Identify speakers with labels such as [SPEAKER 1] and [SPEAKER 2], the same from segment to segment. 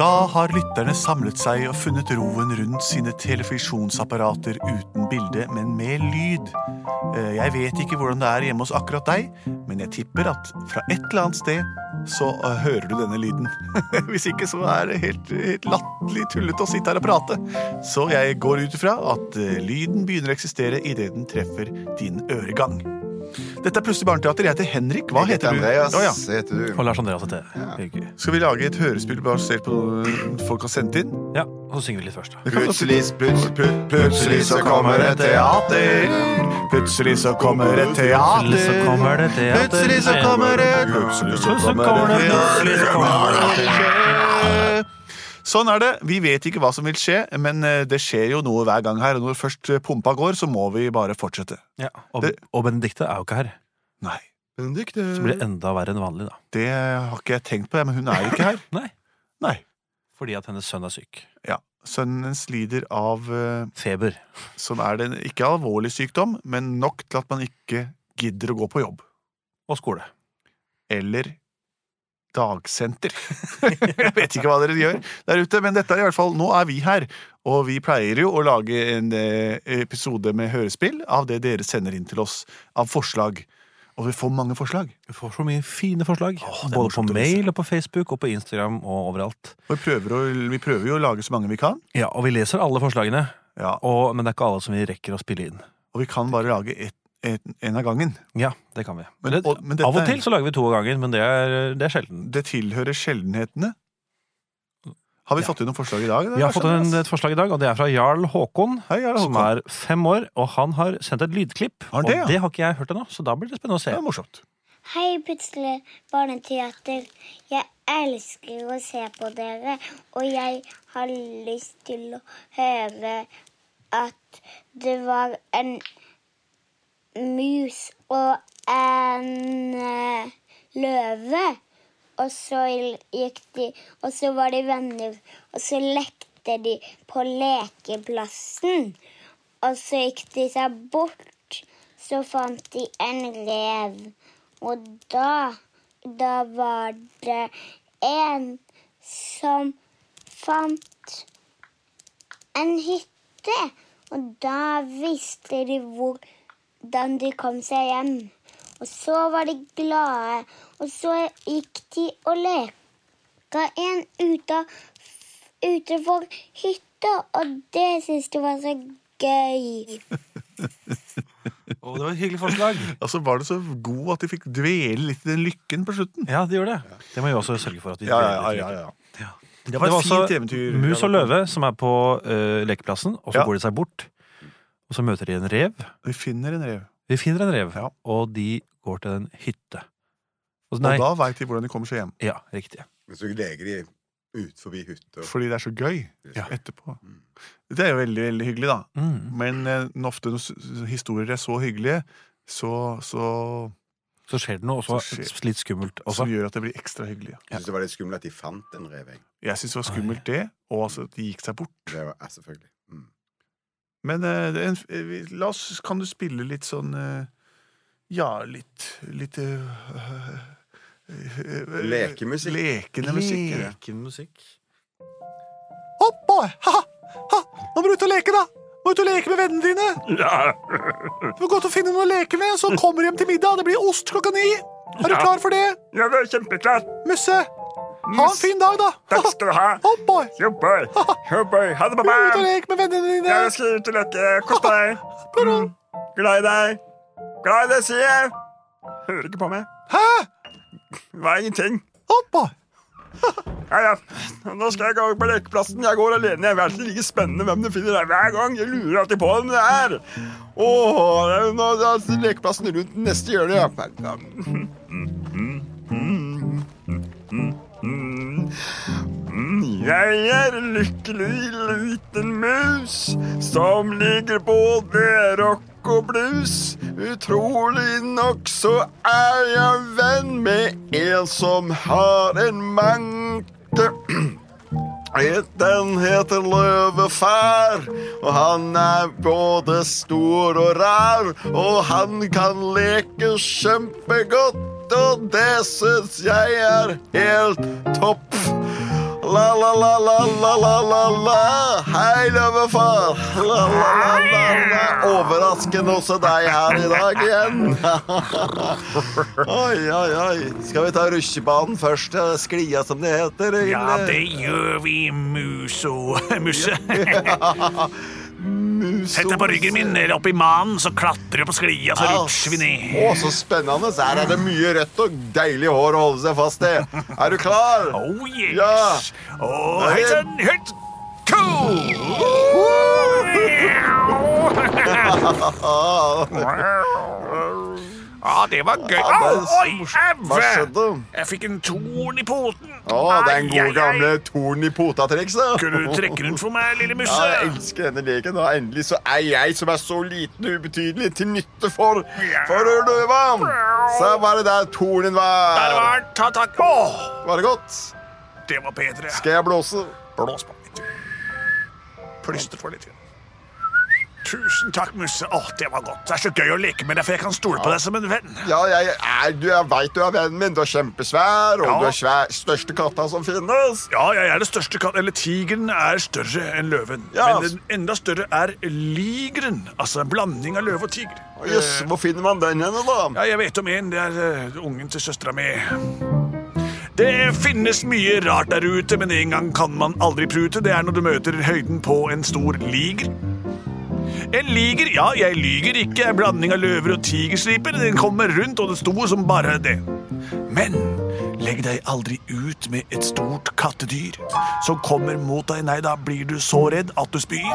[SPEAKER 1] Da har lytterne samlet seg og funnet roen rundt sine telefisjonsapparater uten bilde, men med lyd. Eh, Jeg vet ikke hvordan det er hjemme hos akkurat deg, men jeg tipper at fra et eller annet sted så eh, hører du denne lyden. Hvis ikke så er det helt, helt latterlig tullete å sitte her og prate. Så jeg går ut ifra at eh, lyden begynner å eksistere idet den treffer din øregang. Dette er Plutselig barneteater. Jeg heter Henrik. Hva heter du?
[SPEAKER 2] Andreas
[SPEAKER 1] Å, ja.
[SPEAKER 2] heter du.
[SPEAKER 3] Og Lars Andreas heter jeg.
[SPEAKER 1] Skal vi lage et hørespill basert på noe folk har sendt inn?
[SPEAKER 3] Ja, og så synger vi litt først. da.
[SPEAKER 2] Plutselig, plut- plut- plutselig så kommer et teater.
[SPEAKER 1] Plutselig så kommer
[SPEAKER 2] et
[SPEAKER 1] teater.
[SPEAKER 3] Plutselig så kommer det teater.
[SPEAKER 2] Plutselig så kommer det Plutselig så kommer det
[SPEAKER 3] Plutselig så kommer det
[SPEAKER 1] Sånn er det. Vi vet ikke hva som vil skje, men eh, det skjer jo noe hver gang her. Og når først eh, pumpa går, så må vi bare fortsette.
[SPEAKER 3] Ja, og,
[SPEAKER 1] Det-
[SPEAKER 3] og Benedicte er jo ikke her.
[SPEAKER 1] Nei,
[SPEAKER 2] Benedikte.
[SPEAKER 3] Så blir det enda verre enn vanlig, da.
[SPEAKER 1] det har ikke jeg tenkt på, jeg, men hun er ikke her.
[SPEAKER 3] Nei,
[SPEAKER 1] Nei.
[SPEAKER 3] fordi at hennes sønn er syk.
[SPEAKER 1] Ja. Sønnen hennes lider av eh,
[SPEAKER 3] Feber.
[SPEAKER 1] som er den ikke alvorlig sykdom, men nok til at man ikke gidder å gå på jobb.
[SPEAKER 3] Og skole.
[SPEAKER 1] Eller dagsenter. Jeg vet ikke hva dere gjør der ute, men dette er i hvert fall Nå er vi her, og vi pleier jo å lage en eh, episode med hørespill av det dere sender inn til oss av forslag. Og vi får mange forslag.
[SPEAKER 3] Du får så mye fine forslag.
[SPEAKER 1] Åh, det er
[SPEAKER 3] både på
[SPEAKER 1] morsomt å lese.
[SPEAKER 3] mail og på Facebook og på Instagram og overalt.
[SPEAKER 1] Og vi prøver, å, vi prøver jo å lage så mange vi kan.
[SPEAKER 3] Ja, og vi leser alle forslagene,
[SPEAKER 1] Ja,
[SPEAKER 3] og, men det er ikke alle som vi rekker å spille inn.
[SPEAKER 1] og vi kan bare lage et, et, en av gangen.
[SPEAKER 3] Ja, det kan vi.
[SPEAKER 1] Men-
[SPEAKER 3] det,
[SPEAKER 1] og- men dette
[SPEAKER 3] av og
[SPEAKER 1] er-
[SPEAKER 3] til så lager vi to av gangen, men det er, det er sjelden.
[SPEAKER 1] Det tilhører sjeldenhetene. Har vi
[SPEAKER 3] Ja.
[SPEAKER 1] fått inn noen forslag i dag? eller?
[SPEAKER 3] Vi har fått en,
[SPEAKER 1] Andreas?
[SPEAKER 3] et forslag i dag, og det er fra Jarl Håkon,
[SPEAKER 1] Hei, Jarl
[SPEAKER 3] som
[SPEAKER 1] Håkon.
[SPEAKER 3] er fem år, og han har sendt et lydklipp.
[SPEAKER 1] Har han det, ja?
[SPEAKER 3] Og det har ikke jeg hørt ennå, så da blir det spennende å se.
[SPEAKER 1] Det er morsomt.
[SPEAKER 4] Hei, plutselig barneteater. Jeg elsker å se på dere, og jeg har lyst til å høre at det var en mus og en eh, løve. Og så gikk de, og så var de venner, og så lekte de på lekeplassen. Og så gikk de seg bort, så fant de en rev. Og da, da var det en som fant en hytte. Og da visste de hvordan de kom seg hjem. Og så var de glade, og så gikk de og leka en uta, utenfor hytta, og det syntes de var så gøy.
[SPEAKER 3] Å, det var et hyggelig forslag.
[SPEAKER 1] Altså var det så god at de fikk dvele litt i den lykken på slutten.
[SPEAKER 3] Ja, det gjør det. Det må vi også sørge for at vi
[SPEAKER 1] Det var et
[SPEAKER 3] også
[SPEAKER 1] fint eventyr.
[SPEAKER 3] Mus og løve som er på eh, lekeplassen, og så
[SPEAKER 1] Ja.
[SPEAKER 3] går de seg bort. Og så møter de en rev.
[SPEAKER 1] Vi finner en rev.
[SPEAKER 3] De finner en rev,
[SPEAKER 1] Ja.
[SPEAKER 3] og de går til en hytte. Og så,
[SPEAKER 1] Og
[SPEAKER 3] nei,
[SPEAKER 1] da veit de hvordan de kommer seg hjem.
[SPEAKER 3] ja, riktig.
[SPEAKER 2] Men så leker de ut forbi hytta.
[SPEAKER 1] Fordi det er så gøy
[SPEAKER 2] Ja.
[SPEAKER 1] etterpå. Det er jo veldig veldig hyggelig, da.
[SPEAKER 3] Mm.
[SPEAKER 1] Men eh, når ofte når s- s- historier er så hyggelige, så, så,
[SPEAKER 3] Så skjer det noe også,
[SPEAKER 1] Så skjer-
[SPEAKER 3] litt skummelt også.
[SPEAKER 1] som gjør at det blir ekstra hyggelig.
[SPEAKER 2] Jeg syns det var litt skummelt at de fant en rev. jeg.
[SPEAKER 1] Jeg syns det var skummelt, det, og altså at de gikk seg bort.
[SPEAKER 2] Det var ja, selvfølgelig. Mm.
[SPEAKER 1] Men eh, det er en, f- eh, vi- la oss, kan du spille litt sånn eh, Ja, litt Litt eh, eh, eh,
[SPEAKER 2] Lekemusikk.
[SPEAKER 1] Lekende musikk. ja.
[SPEAKER 3] Leken musikk.
[SPEAKER 1] Hopp, boy! Ha, ha. Nå må du ut og leke, da! Må ut og leke med vennene dine! Du må gå ut og finne noe å leke med, så kommer du hjem til middag. Det blir ost klokka ni. Er du klar for det?
[SPEAKER 5] Ja, det er kjempeklart.
[SPEAKER 1] Musse, ha en fin dag, da!
[SPEAKER 5] Takk skal du ha.
[SPEAKER 1] Hopp, boy!
[SPEAKER 5] Jobber. Jobber. Ha det,
[SPEAKER 1] Du må ut og
[SPEAKER 5] pappa.
[SPEAKER 1] leke med vennene dine.
[SPEAKER 5] Jeg skal ut og leke. Kos deg. Mm. Glad i deg. Glad i deg, sier jeg. Hører ikke på meg.
[SPEAKER 1] Hæ?
[SPEAKER 5] Hva er ingenting?
[SPEAKER 1] Hopp, boy!
[SPEAKER 5] Ja, ja. Nå skal jeg gå på lekeplassen. Jeg går alene. Jeg vet ikke like spennende hvem du finner der hver gang. Jeg lurer alltid på hvem det er.
[SPEAKER 2] Åh, det er jo nå det
[SPEAKER 5] altså
[SPEAKER 2] er lekeplassen rundt neste hjørne, ja. Ja.
[SPEAKER 5] Mm,
[SPEAKER 6] Jeg er en lykkelig liten mus som liker både rock og blues. Utrolig nok så er jeg venn med en som har en manke. Den heter Løvefær, og han er både stor og rar, og han kan leke kjempegodt, og det syns jeg er helt topp. La, la, la, la, la, la, la, la. Hei, løvefar. La, la, la, la, la. Overraskende også deg her i dag igjen. oi, oi, oi. Skal vi ta rusjebanen først? eh, Sklia, som det heter. egentlig?
[SPEAKER 1] gjør vi, muso. Musse.
[SPEAKER 6] Mus og
[SPEAKER 1] min eller opp i manen, så klatrer du på sklia, så
[SPEAKER 5] Å, så spennende. Her er det mye rødt og deilig hår å holde seg fast i. Er du klar?
[SPEAKER 1] Oh
[SPEAKER 5] yes.
[SPEAKER 1] Oh,
[SPEAKER 5] hei sann,
[SPEAKER 1] høyt ko! Ja, det var gøy.
[SPEAKER 5] Ja, det er så
[SPEAKER 1] Oi,
[SPEAKER 5] Hva
[SPEAKER 1] æve!
[SPEAKER 5] skjedde?
[SPEAKER 1] Jeg fikk en torn i poten.
[SPEAKER 5] Å, det er en
[SPEAKER 1] Ai, ai, ai.
[SPEAKER 5] god gamle torn i pota-trikset.
[SPEAKER 1] Kunne du trekke rundt for meg, lille
[SPEAKER 5] Ja, jeg
[SPEAKER 1] musse?
[SPEAKER 5] elsker denne leken, og endelig så er jeg som er så liten og ubetydelig til nytte for For Ulva. Så var det der tornen
[SPEAKER 1] Der
[SPEAKER 5] var.
[SPEAKER 1] var den. Ta tak. Åh,
[SPEAKER 5] Var det godt?
[SPEAKER 1] det var bedre.
[SPEAKER 5] Skal jeg blåse?
[SPEAKER 1] Blås på litt. Plystre for litt. Tusen takk, musse. Åh, det var godt. Det er så gøy å leke med deg, for jeg kan stole på deg som en venn.
[SPEAKER 5] Ja, jeg, er, du, jeg vet du er vennen min. Du er kjempesvær, og
[SPEAKER 1] Ja.
[SPEAKER 5] du er svær, største katta som finnes.
[SPEAKER 1] Ja, jeg er det største katt... Eller tigeren er større enn løven.
[SPEAKER 5] Ja. altså.
[SPEAKER 1] Men den enda større er ligeren. Altså en blanding av løve og tiger.
[SPEAKER 5] Å, Jøss, hvor finner man den henne, da?
[SPEAKER 1] Eh. Ja, jeg vet om en. Det er eh, ungen til søstera mi. Det finnes mye rart der ute, men en gang kan man aldri prute. Det er når du møter høyden på en stor liger. En liger, ja, jeg lyger ikke, er en blanding av løver og tigerstriper. Den kommer rundt, og det sto som bare det. Men legg deg aldri ut med et stort kattedyr som kommer mot deg. Nei, da blir du så redd at du spyr.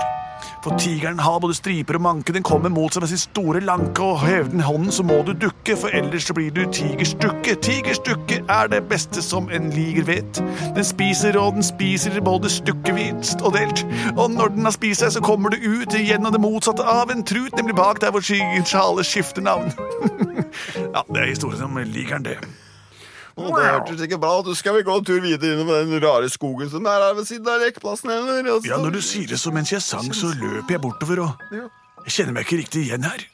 [SPEAKER 1] For tigeren har både striper og manke. Den kommer mot seg med sin store lanke, og hev den hånden, så må du dukke, for ellers så blir du tigerstukke. Tigerstukke er det beste som en liger vet. Den spiser, og den spiser både stykkevis og delt. Og når den har spist seg, så kommer du ut igjen av det motsatte av en trut, nemlig bak der hvor skyggens hale skifter navn. ja, det er historien om ligeren, det.
[SPEAKER 5] Å, Det hørtes ikke bra ut. Skal vi gå en tur videre innom den rare skogen som er her ved siden av lekeplassen? Eller? Og så-
[SPEAKER 1] Ja, når du sier det så mens jeg sang, så løp jeg bortover og Jeg kjenner meg ikke riktig igjen her.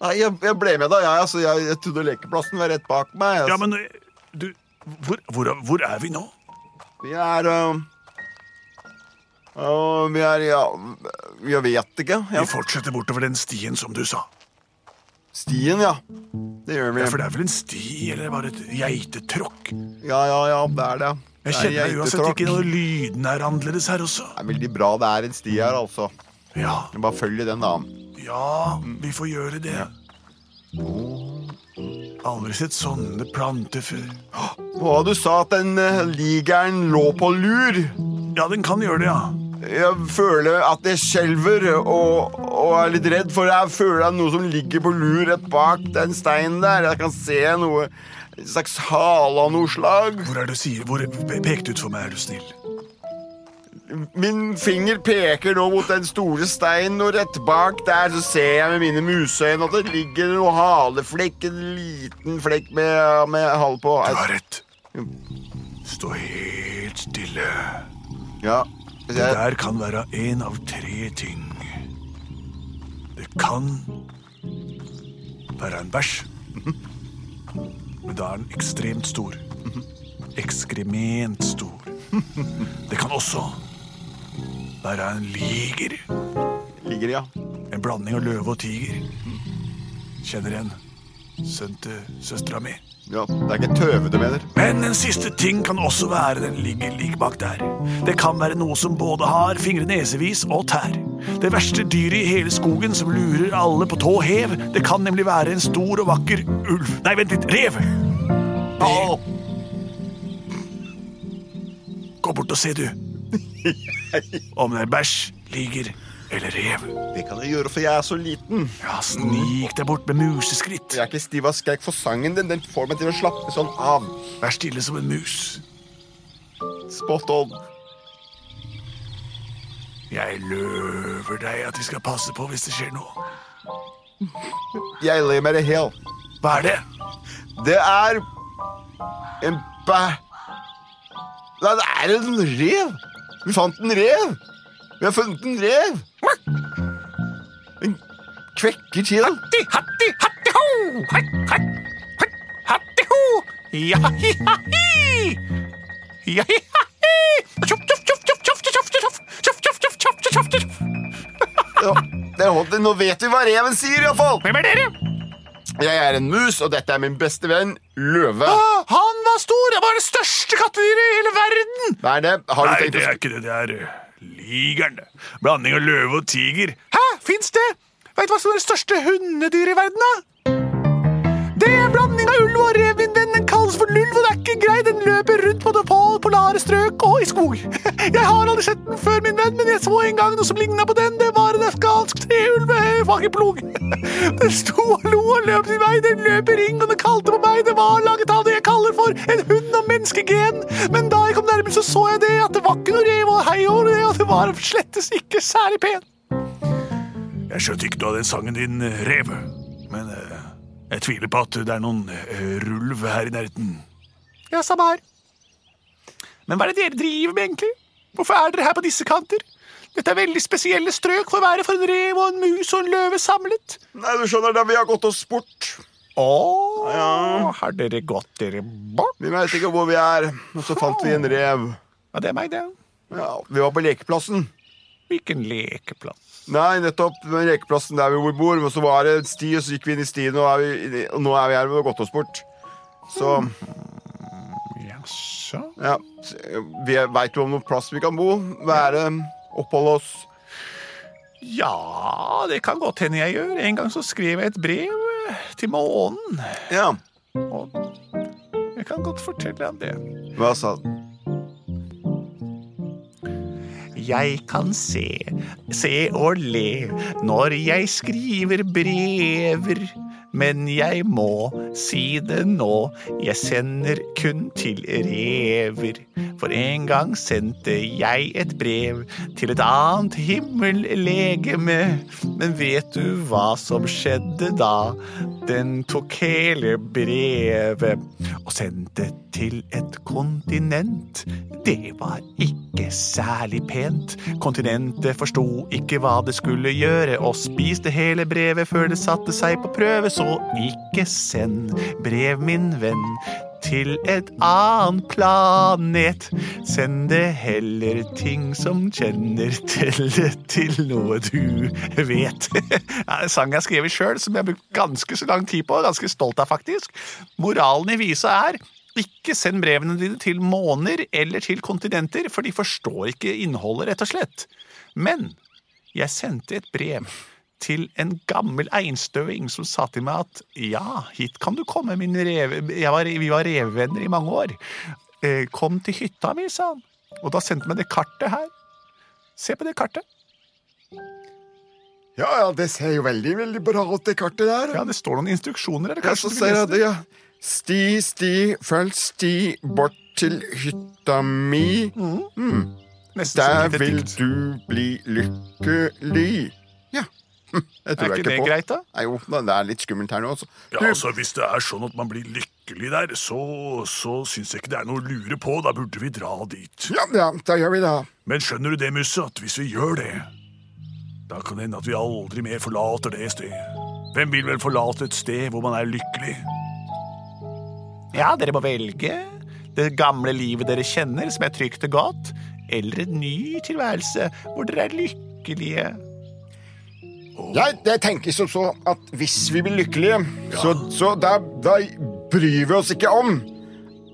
[SPEAKER 5] Nei, jeg, jeg ble med deg, jeg. Altså, jeg, jeg trodde lekeplassen var rett bak meg. Altså.
[SPEAKER 1] Ja, men eh, du Hvor, hvor, hvor er vi nå?
[SPEAKER 5] Vi er øh, øh, Vi er ja, Jeg vet ikke. Ja.
[SPEAKER 1] Vi fortsetter bortover den stien som du sa.
[SPEAKER 5] Stien, ja. Det gjør vi.
[SPEAKER 1] Ja, for det er vel en sti, eller bare et geitetråkk?
[SPEAKER 5] Ja, ja, ja, det er det.
[SPEAKER 1] Jeg
[SPEAKER 5] Det er
[SPEAKER 1] kjenner meg uansett
[SPEAKER 5] geitetråkk.
[SPEAKER 1] ikke når lyden er annerledes her også.
[SPEAKER 5] Det er veldig bra det er en sti her, altså.
[SPEAKER 1] Ja,
[SPEAKER 5] Bare følg den, da.
[SPEAKER 1] ja, vi får gjøre det. Aldri sett sånne planter før.
[SPEAKER 5] Å, du sa at den eh, ligeren lå på lur.
[SPEAKER 1] Ja, den kan gjøre det, ja.
[SPEAKER 5] Jeg føler at jeg skjelver og, og er litt redd, for jeg føler det er noe som ligger på lur rett bak den steinen der. Jeg kan se noe en slags hale av noe slag.
[SPEAKER 1] Hvor er det du sier Hvor Pek det ut for meg, er du snill.
[SPEAKER 5] Min finger peker nå mot den store steinen, og rett bak der så ser jeg med mine museøyne at det ligger noe haleflekk, en liten flekk med, med hale på.
[SPEAKER 1] Du har rett. Stå helt stille.
[SPEAKER 5] Ja.
[SPEAKER 1] Det
[SPEAKER 5] Jeg,
[SPEAKER 1] der kan være en av tre ting. Det kan være en bæsj. Men da er den ekstremt stor. Ekskrement stor. Det kan også være en liger.
[SPEAKER 5] ligger, ja.
[SPEAKER 1] En blanding av løve og tiger. Kjenner igjen sønnen til søstera mi.
[SPEAKER 5] ja. Det er ikke tøve du mener.
[SPEAKER 1] Men en siste ting kan også være den ligger like bak der. Det kan være noe som både har fingre nesevis og tær. Det verste dyret i hele skogen som lurer alle på tå hev, det kan nemlig være en stor og vakker ulv. Nei, vent litt, rev!
[SPEAKER 5] Au!
[SPEAKER 1] Gå bort og se, du. Om det er bæsj, liger eller rev.
[SPEAKER 5] Det kan jeg gjøre, for jeg er så liten.
[SPEAKER 1] Ja, snik deg bort med museskritt.
[SPEAKER 5] Jeg er ikke stiv av skrekk for sangen din. Den får meg til å slappe sånn av.
[SPEAKER 1] Vær stille som en mus.
[SPEAKER 5] Spot on.
[SPEAKER 1] Jeg løver deg at de skal passe på hvis det skjer noe.
[SPEAKER 5] Jeg ler meg i hjel.
[SPEAKER 1] Hva er det?
[SPEAKER 5] Det er en bæ... Nei, det er en rev! Vi fant en rev! Vi har funnet en rev! En kvekker til.
[SPEAKER 1] Hatti, hatti, hatti, ho! Hatt, hatt, hatt, hatti, ho! Ja, hi, ha, hi! Ja, hi, ha, hi! Tjoff, tjoff, tjoff, tjoff, tjoff, tjoff, tjoff, tjoff, tjoff, tjoff, tjoff, tjoff, tjoff, tjoff.
[SPEAKER 5] Ja, det er hot. Nå vet vi hva reven sier, iallfall!
[SPEAKER 1] Hvem er dere?
[SPEAKER 5] Jeg er en mus, og dette er min beste venn, løve.
[SPEAKER 1] Ah, Han var stor! Han var det største kattedyret i hele verden!
[SPEAKER 5] Hva er det? Har du
[SPEAKER 1] Nei,
[SPEAKER 5] tenkt
[SPEAKER 1] det
[SPEAKER 5] å
[SPEAKER 1] er ikke det. Det er eh, ligeren. det. Blanding av løve og tiger. Hæ, fins det? Veit du hva som er det største hundedyret i verden, da? Det er en blanding av ulv og rev, min venn. Den kalles for lulv, og det er ikke greit. Den løper rundt både på polare strøk og i skog. Jeg har aldri sett den før, min venn, men jeg så en gang noe som ligna på den. Det var en afghansk treulv med fakkelplog. Den sto og lo og løp sin vei. Den løp i ring, og den kalte på meg. Det var laget av det jeg kaller for en hund av menneskegen. Men da jeg kom nærmere, så så jeg det at det var ikke noe rev og hei over det, og det var slettes ikke særlig pen. Jeg skjønte ikke noe av den sangen din, eh, rev, men eh, jeg tviler på at det er noen eh, rulv her i nærheten. Ja, samme her. Men hva er det dere driver med, egentlig? Hvorfor er dere her på disse kanter? Dette er veldig spesielle strøk for å være for en rev og en mus og en løve samlet.
[SPEAKER 5] Nei, du skjønner, da vi har gått oss bort.
[SPEAKER 1] Å, har dere gått dere bort?
[SPEAKER 5] Vi veit ikke hvor vi er. Og så fant vi en rev.
[SPEAKER 1] Ja, det er meg, det.
[SPEAKER 5] Ja, vi var på lekeplassen.
[SPEAKER 1] Hvilken lekeplass.
[SPEAKER 5] Nei, nettopp den lekeplassen der vi bor. Og så var det en sti, og så gikk vi inn i stien, og, er vi, inni- og nå er vi her og har gått oss bort. Så
[SPEAKER 1] Jaså?
[SPEAKER 5] ja, s- vi veit jo om noen plass vi kan bo, være, oppholde oss.
[SPEAKER 1] Ja, det kan godt hende jeg gjør. En gang så skrev jeg et brev eh, til månen.
[SPEAKER 5] Ja.
[SPEAKER 1] Og jeg kan godt fortelle ham det.
[SPEAKER 5] Hva sa den?
[SPEAKER 1] Jeg kan se, se og le når jeg skriver brever. Men jeg må si det nå, jeg sender kun til rever. For en gang sendte jeg et brev til et annet himmellegeme. Men vet du hva som skjedde da? Den tok hele brevet og sendte til et kontinent. Det var ikke særlig pent. Kontinentet forsto ikke hva det skulle gjøre, og spiste hele brevet før det satte seg på prøve, så ikke send brev, min venn. Til et annet planet. Send det heller ting som kjenner til til noe du vet. Det er en sang jeg har skrevet sjøl, som jeg har brukt ganske så lang tid på, og ganske stolt av, faktisk. Moralen i visa er ikke send brevene dine til måner eller til kontinenter, for de forstår ikke innholdet, rett og slett. Men jeg sendte et brev til en gammel einstøing som sa til meg at ja, hit kan du komme, min reve... Jeg var, vi var revevenner i mange år. Eh, Kom til hytta mi, sa han. Og da sendte han meg det kartet her. Se på det kartet.
[SPEAKER 5] Ja, ja, det ser jo veldig, veldig bra ut, det kartet der.
[SPEAKER 1] Ja, Det står noen instruksjoner. Er det
[SPEAKER 5] Ja,
[SPEAKER 1] kanskje
[SPEAKER 5] så
[SPEAKER 1] du vil
[SPEAKER 5] ser
[SPEAKER 1] lese
[SPEAKER 5] jeg det, ja. Sti, sti, følg sti bort til hytta mi.
[SPEAKER 1] Nesten som
[SPEAKER 5] Der
[SPEAKER 1] et lite
[SPEAKER 5] vil
[SPEAKER 1] dikt.
[SPEAKER 5] du bli lykkelig. Ja. Hm, Jeg tror
[SPEAKER 1] Er ikke
[SPEAKER 5] jeg ikke
[SPEAKER 1] det
[SPEAKER 5] på.
[SPEAKER 1] greit, da?
[SPEAKER 5] Nei, jo, det er litt skummelt her nå, altså.
[SPEAKER 1] Ja, altså, Hvis det er sånn at man blir lykkelig der, så, så syns jeg ikke det er noe å lure på. Da burde vi dra dit.
[SPEAKER 5] Ja, ja, da gjør vi det.
[SPEAKER 1] Men skjønner du det, Musse, at hvis vi gjør det, da kan det hende at vi aldri mer forlater det stedet. Hvem vil vel forlate et sted hvor man er lykkelig? Ja, dere må velge. Det gamle livet dere kjenner, som er trygt og godt, eller en ny tilværelse hvor dere er lykkelige.
[SPEAKER 5] Jeg, jeg tenker som så at hvis vi blir lykkelige, så, så da, da bryr vi oss ikke om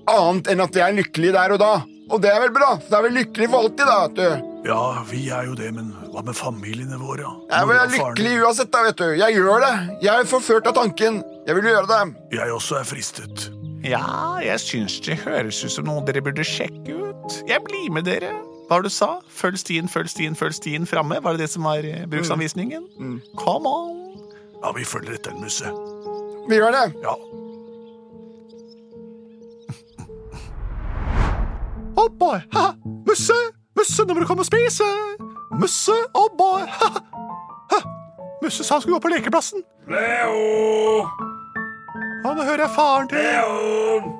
[SPEAKER 5] annet enn at vi er lykkelige der og da. Og det er vel bra, for da er vi lykkelige for alltid, da, vet du.
[SPEAKER 1] Ja, vi er jo det, men hva med familiene våre? da?
[SPEAKER 5] Jeg vil
[SPEAKER 1] Mora
[SPEAKER 5] være
[SPEAKER 1] og faren?
[SPEAKER 5] lykkelig uansett, da, vet du. Jeg gjør det. Jeg er forført av tanken. Jeg vil gjøre det.
[SPEAKER 1] Jeg også er fristet.
[SPEAKER 7] Ja, jeg syns det høres ut som noe dere burde sjekke ut. Jeg blir med dere. Hva var det du sa? Følg stien, følg stien, følg stien framme? Var det det som var eh,
[SPEAKER 1] Mm.
[SPEAKER 7] bruksanvisningen? Come on!
[SPEAKER 1] Ja, vi følger etter en musse.
[SPEAKER 5] Vi gjør det.
[SPEAKER 1] Ja.
[SPEAKER 2] Hopp, boy. Ha, ha. Musse! Musse!
[SPEAKER 1] Musse, nå må du komme og spise! Musse og boy... Ha, ha. Musse sa han skulle gå på lekeplassen.
[SPEAKER 6] Leo!
[SPEAKER 1] Ja, nå hører jeg faren til
[SPEAKER 6] Leo!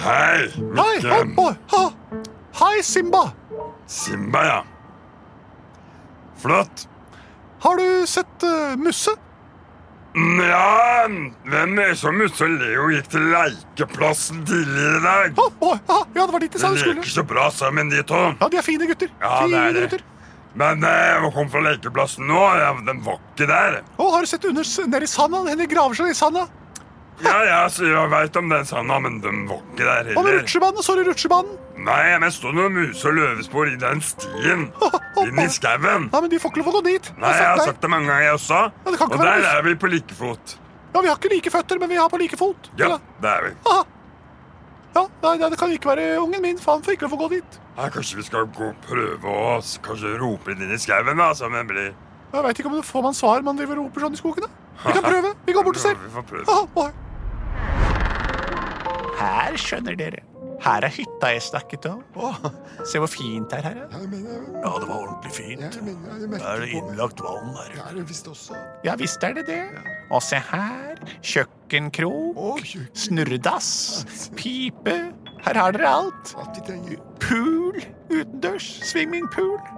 [SPEAKER 6] Hei,
[SPEAKER 1] Hei,
[SPEAKER 6] Mikke.
[SPEAKER 1] ha, boy, ha. Hei, Simba!
[SPEAKER 6] Simba, ja. Flott.
[SPEAKER 1] Har du sett eh, Musse?
[SPEAKER 6] Nja, hvem er det eh, som Musse og Leo gikk til lekeplassen tidligere i dag?
[SPEAKER 1] Ha, boy, ha. Ja, det var dit de
[SPEAKER 6] De
[SPEAKER 1] sa de skulle.
[SPEAKER 6] leker så bra sammen, de to.
[SPEAKER 1] Ja, de er fine gutter.
[SPEAKER 6] Ja, det
[SPEAKER 1] fine
[SPEAKER 6] er det.
[SPEAKER 1] gutter.
[SPEAKER 6] Men eh, hun kom fra lekeplassen nå. Ja, den var ikke der.
[SPEAKER 1] Å, har du sett under, ned i sanda? Henne graver seg i sanda.
[SPEAKER 6] Ja, ja, så jeg veit om den sanda, men den var ikke der
[SPEAKER 1] Og med
[SPEAKER 6] heller.
[SPEAKER 1] rutsjebanen, så du rutsjebanen.
[SPEAKER 6] Nei, men stod noen muse- og løvespor i den stien. Inn i skauen.
[SPEAKER 1] Nei, men de får ikke lov å gå dit.
[SPEAKER 6] Nei, jeg har sett det mange ganger, jeg også.
[SPEAKER 1] Ja, det kan ikke
[SPEAKER 6] Og
[SPEAKER 1] være
[SPEAKER 6] der
[SPEAKER 1] mus.
[SPEAKER 6] er vi på likefot.
[SPEAKER 1] Ja, vi har ikke like føtter, men vi har på like fot.
[SPEAKER 6] Ja, det er vi.
[SPEAKER 1] Aha. Ja, nei, nei, det kan ikke være ungen min, for han får ikke lov å gå dit.
[SPEAKER 6] Ja, kanskje vi skal gå og prøve å s- kanskje rope inn i skauen, da, som en blir.
[SPEAKER 1] Jeg veit ikke om det får man svar man driver og roper sånn i skogen. da. Vi kan prøve. Vi går bort og ser.
[SPEAKER 6] Vi får prøve.
[SPEAKER 1] Aha, oi.
[SPEAKER 8] Her skjønner dere. Her er hytta jeg snakket om. Se hvor fint det er her. ja.
[SPEAKER 9] Ja, det var ordentlig fint. Da er det innlagt vann her.
[SPEAKER 8] Ja visst er det det. Og se her. Kjøkkenkrok. Snurredass. Pipe. Her har dere alt. Pool utendørs. Swimmingpool.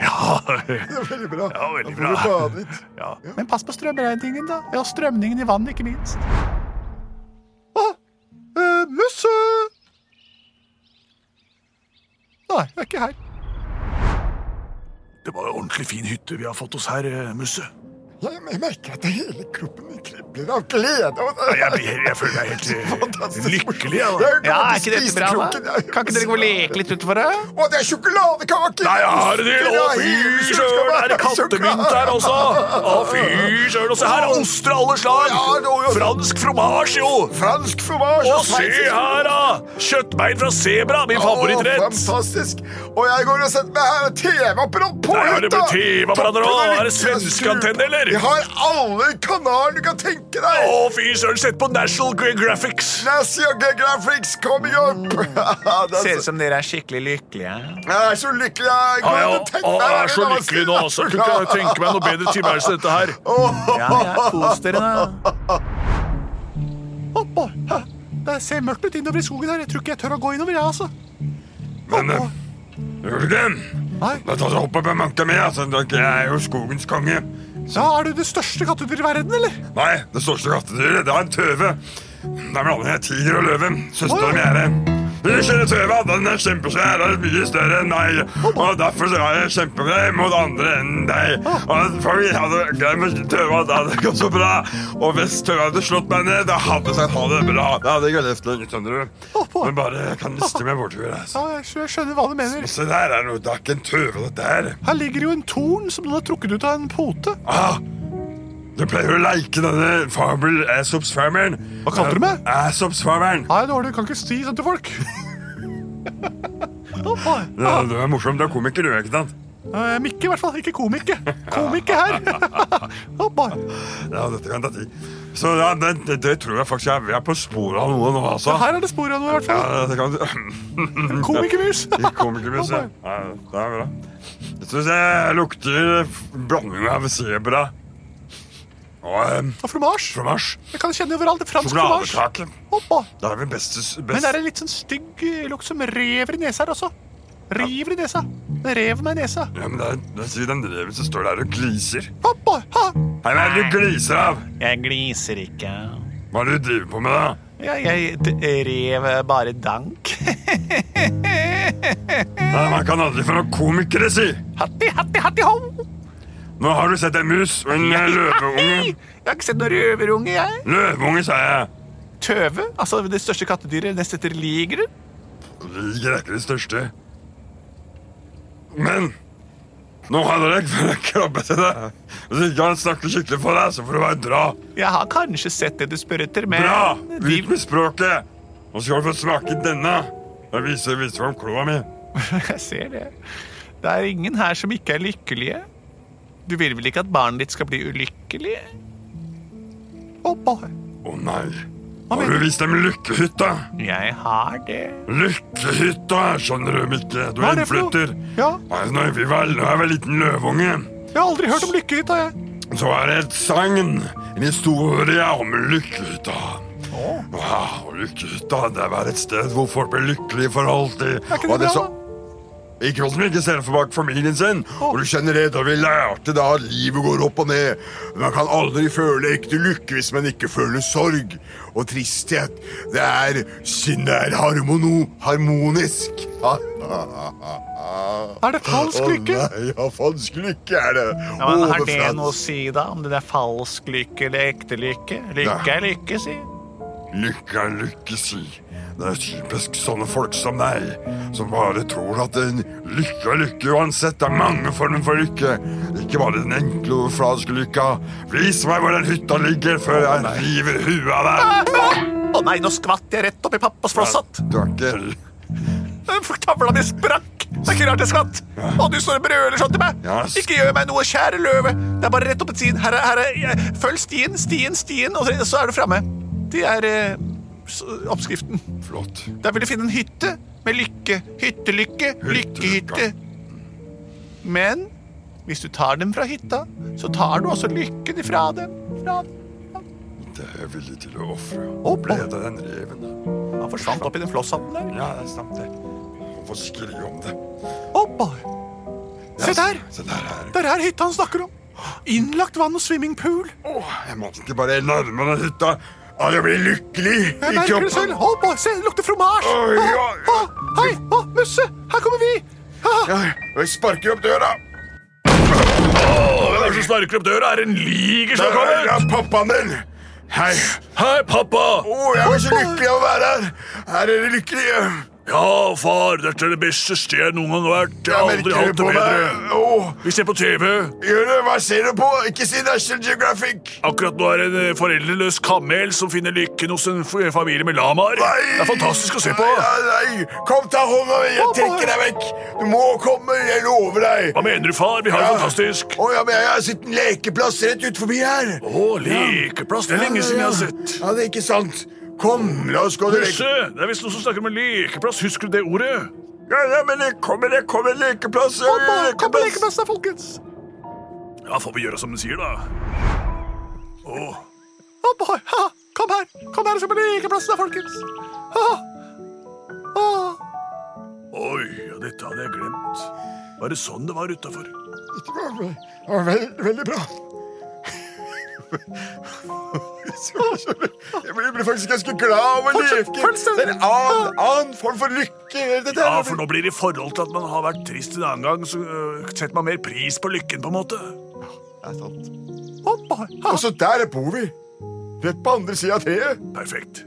[SPEAKER 9] Ja,
[SPEAKER 5] Veldig bra.
[SPEAKER 9] Ja, veldig
[SPEAKER 5] Da får du
[SPEAKER 9] bra.
[SPEAKER 5] bade litt.
[SPEAKER 9] ja.
[SPEAKER 8] Men pass på strømregningen, da. Ja, strømningen i vannet, ikke minst.
[SPEAKER 1] Eh, Musse! Nei, det er ikke her.
[SPEAKER 9] Det var en ordentlig fin hytte vi har fått oss her, eh, Musse.
[SPEAKER 5] Jeg jeg merker at hele kroppen min kribler av glede. Og
[SPEAKER 9] Jeg, blir, jeg føler meg helt eh, lykkelig. Jeg, da.
[SPEAKER 5] Jeg
[SPEAKER 8] Ja,
[SPEAKER 5] kommer
[SPEAKER 8] er
[SPEAKER 5] til
[SPEAKER 8] ikke dette bra,
[SPEAKER 5] spisekroken.
[SPEAKER 8] da?
[SPEAKER 5] Jeg-
[SPEAKER 8] Kan ikke dere gå og leke litt utenfor, da?
[SPEAKER 5] Å, det er sjokoladekake!
[SPEAKER 9] Nei, jeg har det! Å, fy søren! Er det kattemynt her også? Å, fy søren! Og se her, oster av alle slag! Fransk fromasj, jo!
[SPEAKER 5] Fransk fromage!
[SPEAKER 9] Og se her, da! Kjøttbein fra sebra, min favorittrett.
[SPEAKER 5] fantastisk! Og jeg går og setter meg her og TV-apparat på!
[SPEAKER 9] Der har det
[SPEAKER 5] hytta.
[SPEAKER 9] blitt TV-apparater
[SPEAKER 5] Toppen
[SPEAKER 9] også.
[SPEAKER 5] av
[SPEAKER 9] Er det
[SPEAKER 5] lykke-
[SPEAKER 9] svenske antenner, eller?
[SPEAKER 5] Vi har alle kanaler du kan tenke deg!
[SPEAKER 9] Å, fy søren, sett på National Geographics!
[SPEAKER 5] National Geographics coming up! Det er
[SPEAKER 8] Ser ut
[SPEAKER 5] så-
[SPEAKER 8] som dere er skikkelig lykkelige.
[SPEAKER 5] jeg er så lykkelig jeg
[SPEAKER 9] Ja,
[SPEAKER 5] går
[SPEAKER 9] ja.
[SPEAKER 5] og tenker
[SPEAKER 9] Å,
[SPEAKER 5] meg
[SPEAKER 9] jeg er
[SPEAKER 5] her,
[SPEAKER 9] så
[SPEAKER 5] men
[SPEAKER 9] lykkelig nå, altså. Jeg Kunne
[SPEAKER 5] glad.
[SPEAKER 9] ikke tenke meg noe bedre tilværelse enn dette her.
[SPEAKER 8] Ja, ja, kos dere, da.
[SPEAKER 1] Å, boy. Hæ? Det ser mørkt ut innover i skogen her. Jeg tror ikke jeg tør å gå innover, jeg, altså.
[SPEAKER 6] Men eh, gjør du det?
[SPEAKER 1] Nei.
[SPEAKER 6] Da tar jeg hopp opp i manka mi, altså. da- Jeg er jo skogens konge.
[SPEAKER 1] Ja, er du det største kattedyret i verden, eller?
[SPEAKER 6] Nei, det største kattedyret, det er en tøve. Det er blanding av tiger og løve. Søsteren min er det. Vi kjenner tøva, den er kjempesvær og mye større enn meg. Og derfor så er jeg kjempegrei mot andre enn deg. Og for vi hadde glemt tøva, det hadde gått så bra. Og hvis tøva hadde slått meg ned, da hadde jeg sagt ha det bra. Da hadde jeg ikke levd lenge, skjønner du. Men bare, jeg kan liste meg bortover. Altså.
[SPEAKER 1] Ja, jeg skjø- jeg skjønner hva du mener.
[SPEAKER 6] Se der, er noe, det er ikke en tøve, det der.
[SPEAKER 1] Her ligger jo en torn som noen har trukket ut av en pote.
[SPEAKER 6] Ah, du pleier å like denne fabel Aesops-farmeren.
[SPEAKER 1] Hva kalte du meg?
[SPEAKER 6] Aesops-farmeren.
[SPEAKER 1] Nei, dårlig, du kan ikke si sånn til folk. Å, boy.
[SPEAKER 6] Det, det er morsomt. Du er komiker, du, ikke sant?
[SPEAKER 1] Eh, Mikke, i hvert fall. Ikke komikke. Komikke her. Å, boy.
[SPEAKER 6] Ja, dette kan ta tid. Så ja, det, det, det tror jeg faktisk jeg, vi er på sporet av noe nå, altså.
[SPEAKER 1] Her er det spor av noe, i hvert
[SPEAKER 6] Ja,
[SPEAKER 1] fall.
[SPEAKER 6] det kan
[SPEAKER 1] Komikermus.
[SPEAKER 6] Komikermusikk. Ja, det er bra. Jeg syns jeg lukter blanding av sebra og eh,
[SPEAKER 1] Og fromasj.
[SPEAKER 6] fromage.
[SPEAKER 1] Jeg kan kjenne overalt. det er Fransk fromasj.
[SPEAKER 6] Sjokoladekake.
[SPEAKER 1] Å, boy.
[SPEAKER 6] Da er vi best,
[SPEAKER 1] Men
[SPEAKER 6] best.
[SPEAKER 1] det er en litt sånn stygg eh, lukt som rever i nesa her også. River i nesa. Den rev meg i nesa.
[SPEAKER 6] Ja, men det er, det er sikkert den reven som står der og gliser.
[SPEAKER 1] Å, boy. Ha.
[SPEAKER 6] Hei, hva er det du gliser av?
[SPEAKER 8] Jeg gliser ikke.
[SPEAKER 6] Hva er det du driver på med, da?
[SPEAKER 8] Jeg, jeg d- rev bare dank.
[SPEAKER 6] Nei, man kan aldri få noen komikere, si!
[SPEAKER 8] Hatti, hatti, hatti, ho!
[SPEAKER 6] Nå har du sett en mus og en eh, løveunge.
[SPEAKER 8] Hei! Jeg har ikke sett noen røverunge, jeg.
[SPEAKER 6] Løveunge, sa jeg.
[SPEAKER 8] Tøve. Altså det største kattedyret. Nest etter ligeren.
[SPEAKER 6] Liger er ikke det største. Men nå hadde jeg ikke en krabbe til deg. Hvis ikke han snakker skikkelig for deg, så får du bare dra.
[SPEAKER 8] Jeg har kanskje sett det du spør etter, men
[SPEAKER 6] Bra!
[SPEAKER 8] de,
[SPEAKER 6] Ut med språket! Nå skal du få smake denne. Jeg viser, viser fram kloa mi.
[SPEAKER 8] Jeg ser det. Det er ingen her som ikke er lykkelige. Du vil vel ikke at barnet ditt skal bli ulykkelig?
[SPEAKER 1] Å, boy.
[SPEAKER 6] Å nei.
[SPEAKER 10] Hva
[SPEAKER 6] Har
[SPEAKER 10] mener
[SPEAKER 6] du visst om Lykkehytta?
[SPEAKER 1] Jeg har det.
[SPEAKER 6] Lykkehytta, skjønner du, Mikke. Du
[SPEAKER 10] Hva
[SPEAKER 6] er
[SPEAKER 10] er det for noe?
[SPEAKER 6] innflytter.
[SPEAKER 10] Ja,
[SPEAKER 6] Nei, Når vi var, når jeg var liten løveunge,
[SPEAKER 10] jeg har aldri hørt om Lykkehytta, jeg.
[SPEAKER 6] så var det et sagn, en historie om Lykkehytta. Wow, Lykkehytta, det var et sted hvor folk ble lykkelige for alltid.
[SPEAKER 10] Er ikke det
[SPEAKER 6] og det
[SPEAKER 10] bra?
[SPEAKER 6] så- Ikke hos dem, ikke ser for bak familien sin. Og du kjenner det, og vi lærte da at livet går opp og ned. Man kan aldri føle ekte lykke hvis man ikke føler sorg. Og tristhet, det er, det er harmono, harmonisk.
[SPEAKER 10] Er det falsk lykke?
[SPEAKER 6] Å nei, ja, falsk lykke er det.
[SPEAKER 1] Ja, men har det
[SPEAKER 6] Overfransk.
[SPEAKER 1] noe å si, da? Om det er falsk lykke eller ekte lykke? Lykke
[SPEAKER 6] Nei.
[SPEAKER 1] er lykke, si.
[SPEAKER 6] Lykke er lykke, si. Det er typisk sånne folk som deg, som bare tror at en lykke er lykke uansett. Det er mange former for lykke, ikke bare den enkle overfladiske lykka. Vis meg hvor den hytta ligger, før jeg river huet av
[SPEAKER 1] Ah,
[SPEAKER 6] deg.
[SPEAKER 1] Å nei, nå skvatt jeg rett opp i pappas flosshatt.
[SPEAKER 6] Du er ikke
[SPEAKER 1] Øh, Tavla mi sprakk. Det er ikke rart jeg skvatt. Og du står og brøler sånn til meg.
[SPEAKER 6] Yes.
[SPEAKER 1] Ikke gjør meg noe, kjære løve. Det er bare rett opp et stien. Her er, her er, jeg- følg stien, stien, stien, og så- så er du framme. Det er eh, s- oppskriften.
[SPEAKER 6] flott.
[SPEAKER 1] Der vil du finne en hytte med lykke. Hyttelykke, lykkehytte. Men hvis du tar dem fra hytta, så tar du også lykken ifra dem. Fra dem.
[SPEAKER 6] Det er jeg villig til å ofre.
[SPEAKER 1] Å,
[SPEAKER 6] Ble det den reven?
[SPEAKER 1] Han forsvant opp i den flosshatten der.
[SPEAKER 6] Ja, det stemte. Hvorfor skrive om det?
[SPEAKER 1] Å, boy. Se
[SPEAKER 6] Ja,
[SPEAKER 1] der!
[SPEAKER 6] Se der er
[SPEAKER 1] Det er her hytta han snakker om. Innlagt vann og swimmingpool.
[SPEAKER 6] Åh, jeg må ikke bare nærme den hytta. Ja, jeg blir lykkelig.
[SPEAKER 1] Jeg merker det selv. Å, boy, se, det lukter fromasj.
[SPEAKER 6] Oi,
[SPEAKER 1] Å,
[SPEAKER 6] oi,
[SPEAKER 1] å, Hei, å, musse, her kommer vi. Ha,
[SPEAKER 6] Ja, Jeg sparker opp døra.
[SPEAKER 3] Hvem er det som sparker opp døra? Er det en liger som
[SPEAKER 6] Der
[SPEAKER 3] har
[SPEAKER 6] er
[SPEAKER 3] kommet?
[SPEAKER 6] er pappaen din. Hei.
[SPEAKER 3] Hei, pappa!
[SPEAKER 6] Å, jeg er så lykkelig av å være her. Er dere lykkelige?
[SPEAKER 3] Ja, far, dette er det beste stedet jeg noen gang har vært. Jeg har
[SPEAKER 6] Jeg
[SPEAKER 3] aldri
[SPEAKER 6] merker det
[SPEAKER 3] hatt det
[SPEAKER 6] på
[SPEAKER 3] bedre.
[SPEAKER 6] meg. Åh,
[SPEAKER 3] Vi ser på TV.
[SPEAKER 6] gjør det. Hva ser du på? Ikke si National Geographic.
[SPEAKER 3] Akkurat nå er det en eh, foreldreløs kamel som finner lykken hos en f- eh, familie med lamaer.
[SPEAKER 6] Nei.
[SPEAKER 3] Det er fantastisk å se på.
[SPEAKER 6] Nei, nei, nei. Kom, ta hånda mi. Jeg trekker deg vekk. Du må komme. Jeg lover deg.
[SPEAKER 3] Hva mener du, far? Vi har det
[SPEAKER 6] Ja.
[SPEAKER 3] fantastisk.
[SPEAKER 6] Å, ja, men jeg har sett en lekeplass rett ut forbi her.
[SPEAKER 3] Å, lekeplass. Det er lenge siden jeg har sett.
[SPEAKER 6] Ja, det er ikke sant. Kom, la oss gå direkte.
[SPEAKER 3] Musse, det er visst noen som snakker om en lekeplass. Husker du det ordet?
[SPEAKER 6] Ja, ja, men det kommer, det kommer lekeplass. Ja,
[SPEAKER 1] Å, boy, kom på
[SPEAKER 6] lekeplass.
[SPEAKER 1] lekeplass da, folkens.
[SPEAKER 3] Ja, får vi gjøre som de sier, da. Å,
[SPEAKER 1] Å, boy, ha, kom her. Kom her og se på lekeplass da, folkens. Ha, ha.
[SPEAKER 3] oi, ja, dette hadde jeg glemt. Var det sånn det var utafor?
[SPEAKER 6] Det var, det var veld, veldig bra. Jeg ble, jeg ble faktisk ganske glad av å
[SPEAKER 1] Fortsett,
[SPEAKER 6] leke.
[SPEAKER 1] fortsett.
[SPEAKER 6] Det er en annen, annen form for lykke. Dette
[SPEAKER 3] Ja,
[SPEAKER 6] her
[SPEAKER 3] for nå blir det i forhold til at man har vært trist en annen gang, så øh, setter man mer pris på lykken, på en måte.
[SPEAKER 6] Det er sant.
[SPEAKER 1] Å, boy, ha.
[SPEAKER 6] Og så der bor vi. Rett på andre sida av treet.
[SPEAKER 3] Perfekt.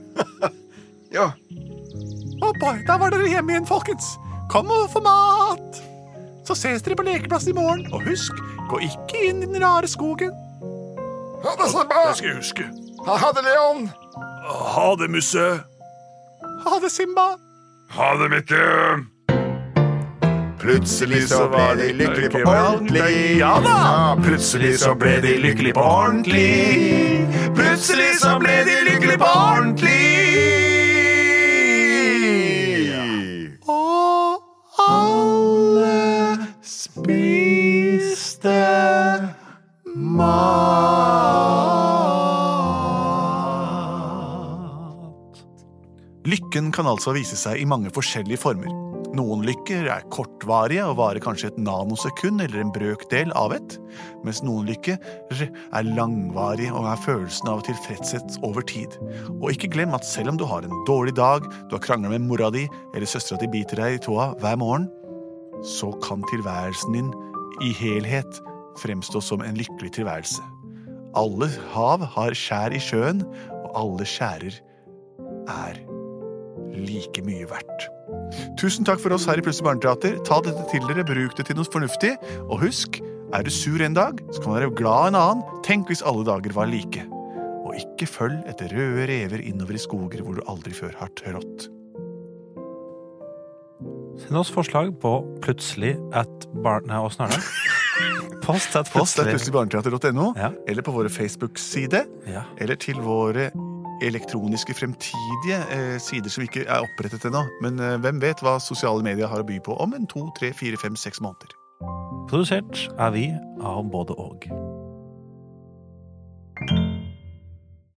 [SPEAKER 6] Ja.
[SPEAKER 1] Å, boy, da var dere hjemme igjen, folkens. Kom og få mat. Så ses dere på lekeplassen i morgen. Og husk, gå ikke inn i den rare skogen.
[SPEAKER 6] Ha det, Samba.
[SPEAKER 3] Det skal jeg huske.
[SPEAKER 6] Ha det, Leon.
[SPEAKER 3] Ha det, musse.
[SPEAKER 1] Ha det, Simba.
[SPEAKER 6] Ha det, Mikke. Plutselig så ble de lykkelige på ordentlig.
[SPEAKER 1] Ja da.
[SPEAKER 6] Plutselig så ble de lykkelige på ordentlig. Plutselig så ble de lykkelige på ordentlig.
[SPEAKER 1] Og alle spiste mat.
[SPEAKER 10] Lykken kan altså vise seg i mange forskjellige former. Noen lykker er kortvarige og varer kanskje et nanosekund eller en brøkdel av et, mens noen lykker er langvarige og er følelsen av tilfredshet over tid. Og ikke glem at selv om du har en dårlig dag, du har krangla med mora di eller søstera di biter deg i tåa hver morgen, så kan tilværelsen din i helhet fremstå som en lykkelig tilværelse. Alle hav har skjær i sjøen, og alle skjærer er like mye verdt. Tusen takk for oss her i Plutselig barneteater. Ta dette til dere, bruk det til noe fornuftig, og husk, er du sur en dag, så kan du være glad en annen. Tenk hvis alle dager var like. Og ikke følg etter røde rever innover i skoger hvor du aldri før har trådt.
[SPEAKER 11] Send oss forslag på plutselig at barn... Nei, åssen er det? Post at
[SPEAKER 10] Post er
[SPEAKER 11] plutselig
[SPEAKER 10] plutseligbarneteater.no,
[SPEAKER 11] Ja.
[SPEAKER 10] eller på våre Facebook-side,
[SPEAKER 11] Ja.
[SPEAKER 10] eller til våre
[SPEAKER 1] elektroniske fremtidige eh, sider som ikke er opprettet ennå. Men eh, hvem vet hva sosiale medier har å by på om en to, tre, fire, fem, seks måneder.
[SPEAKER 3] Produsert er vi av både og.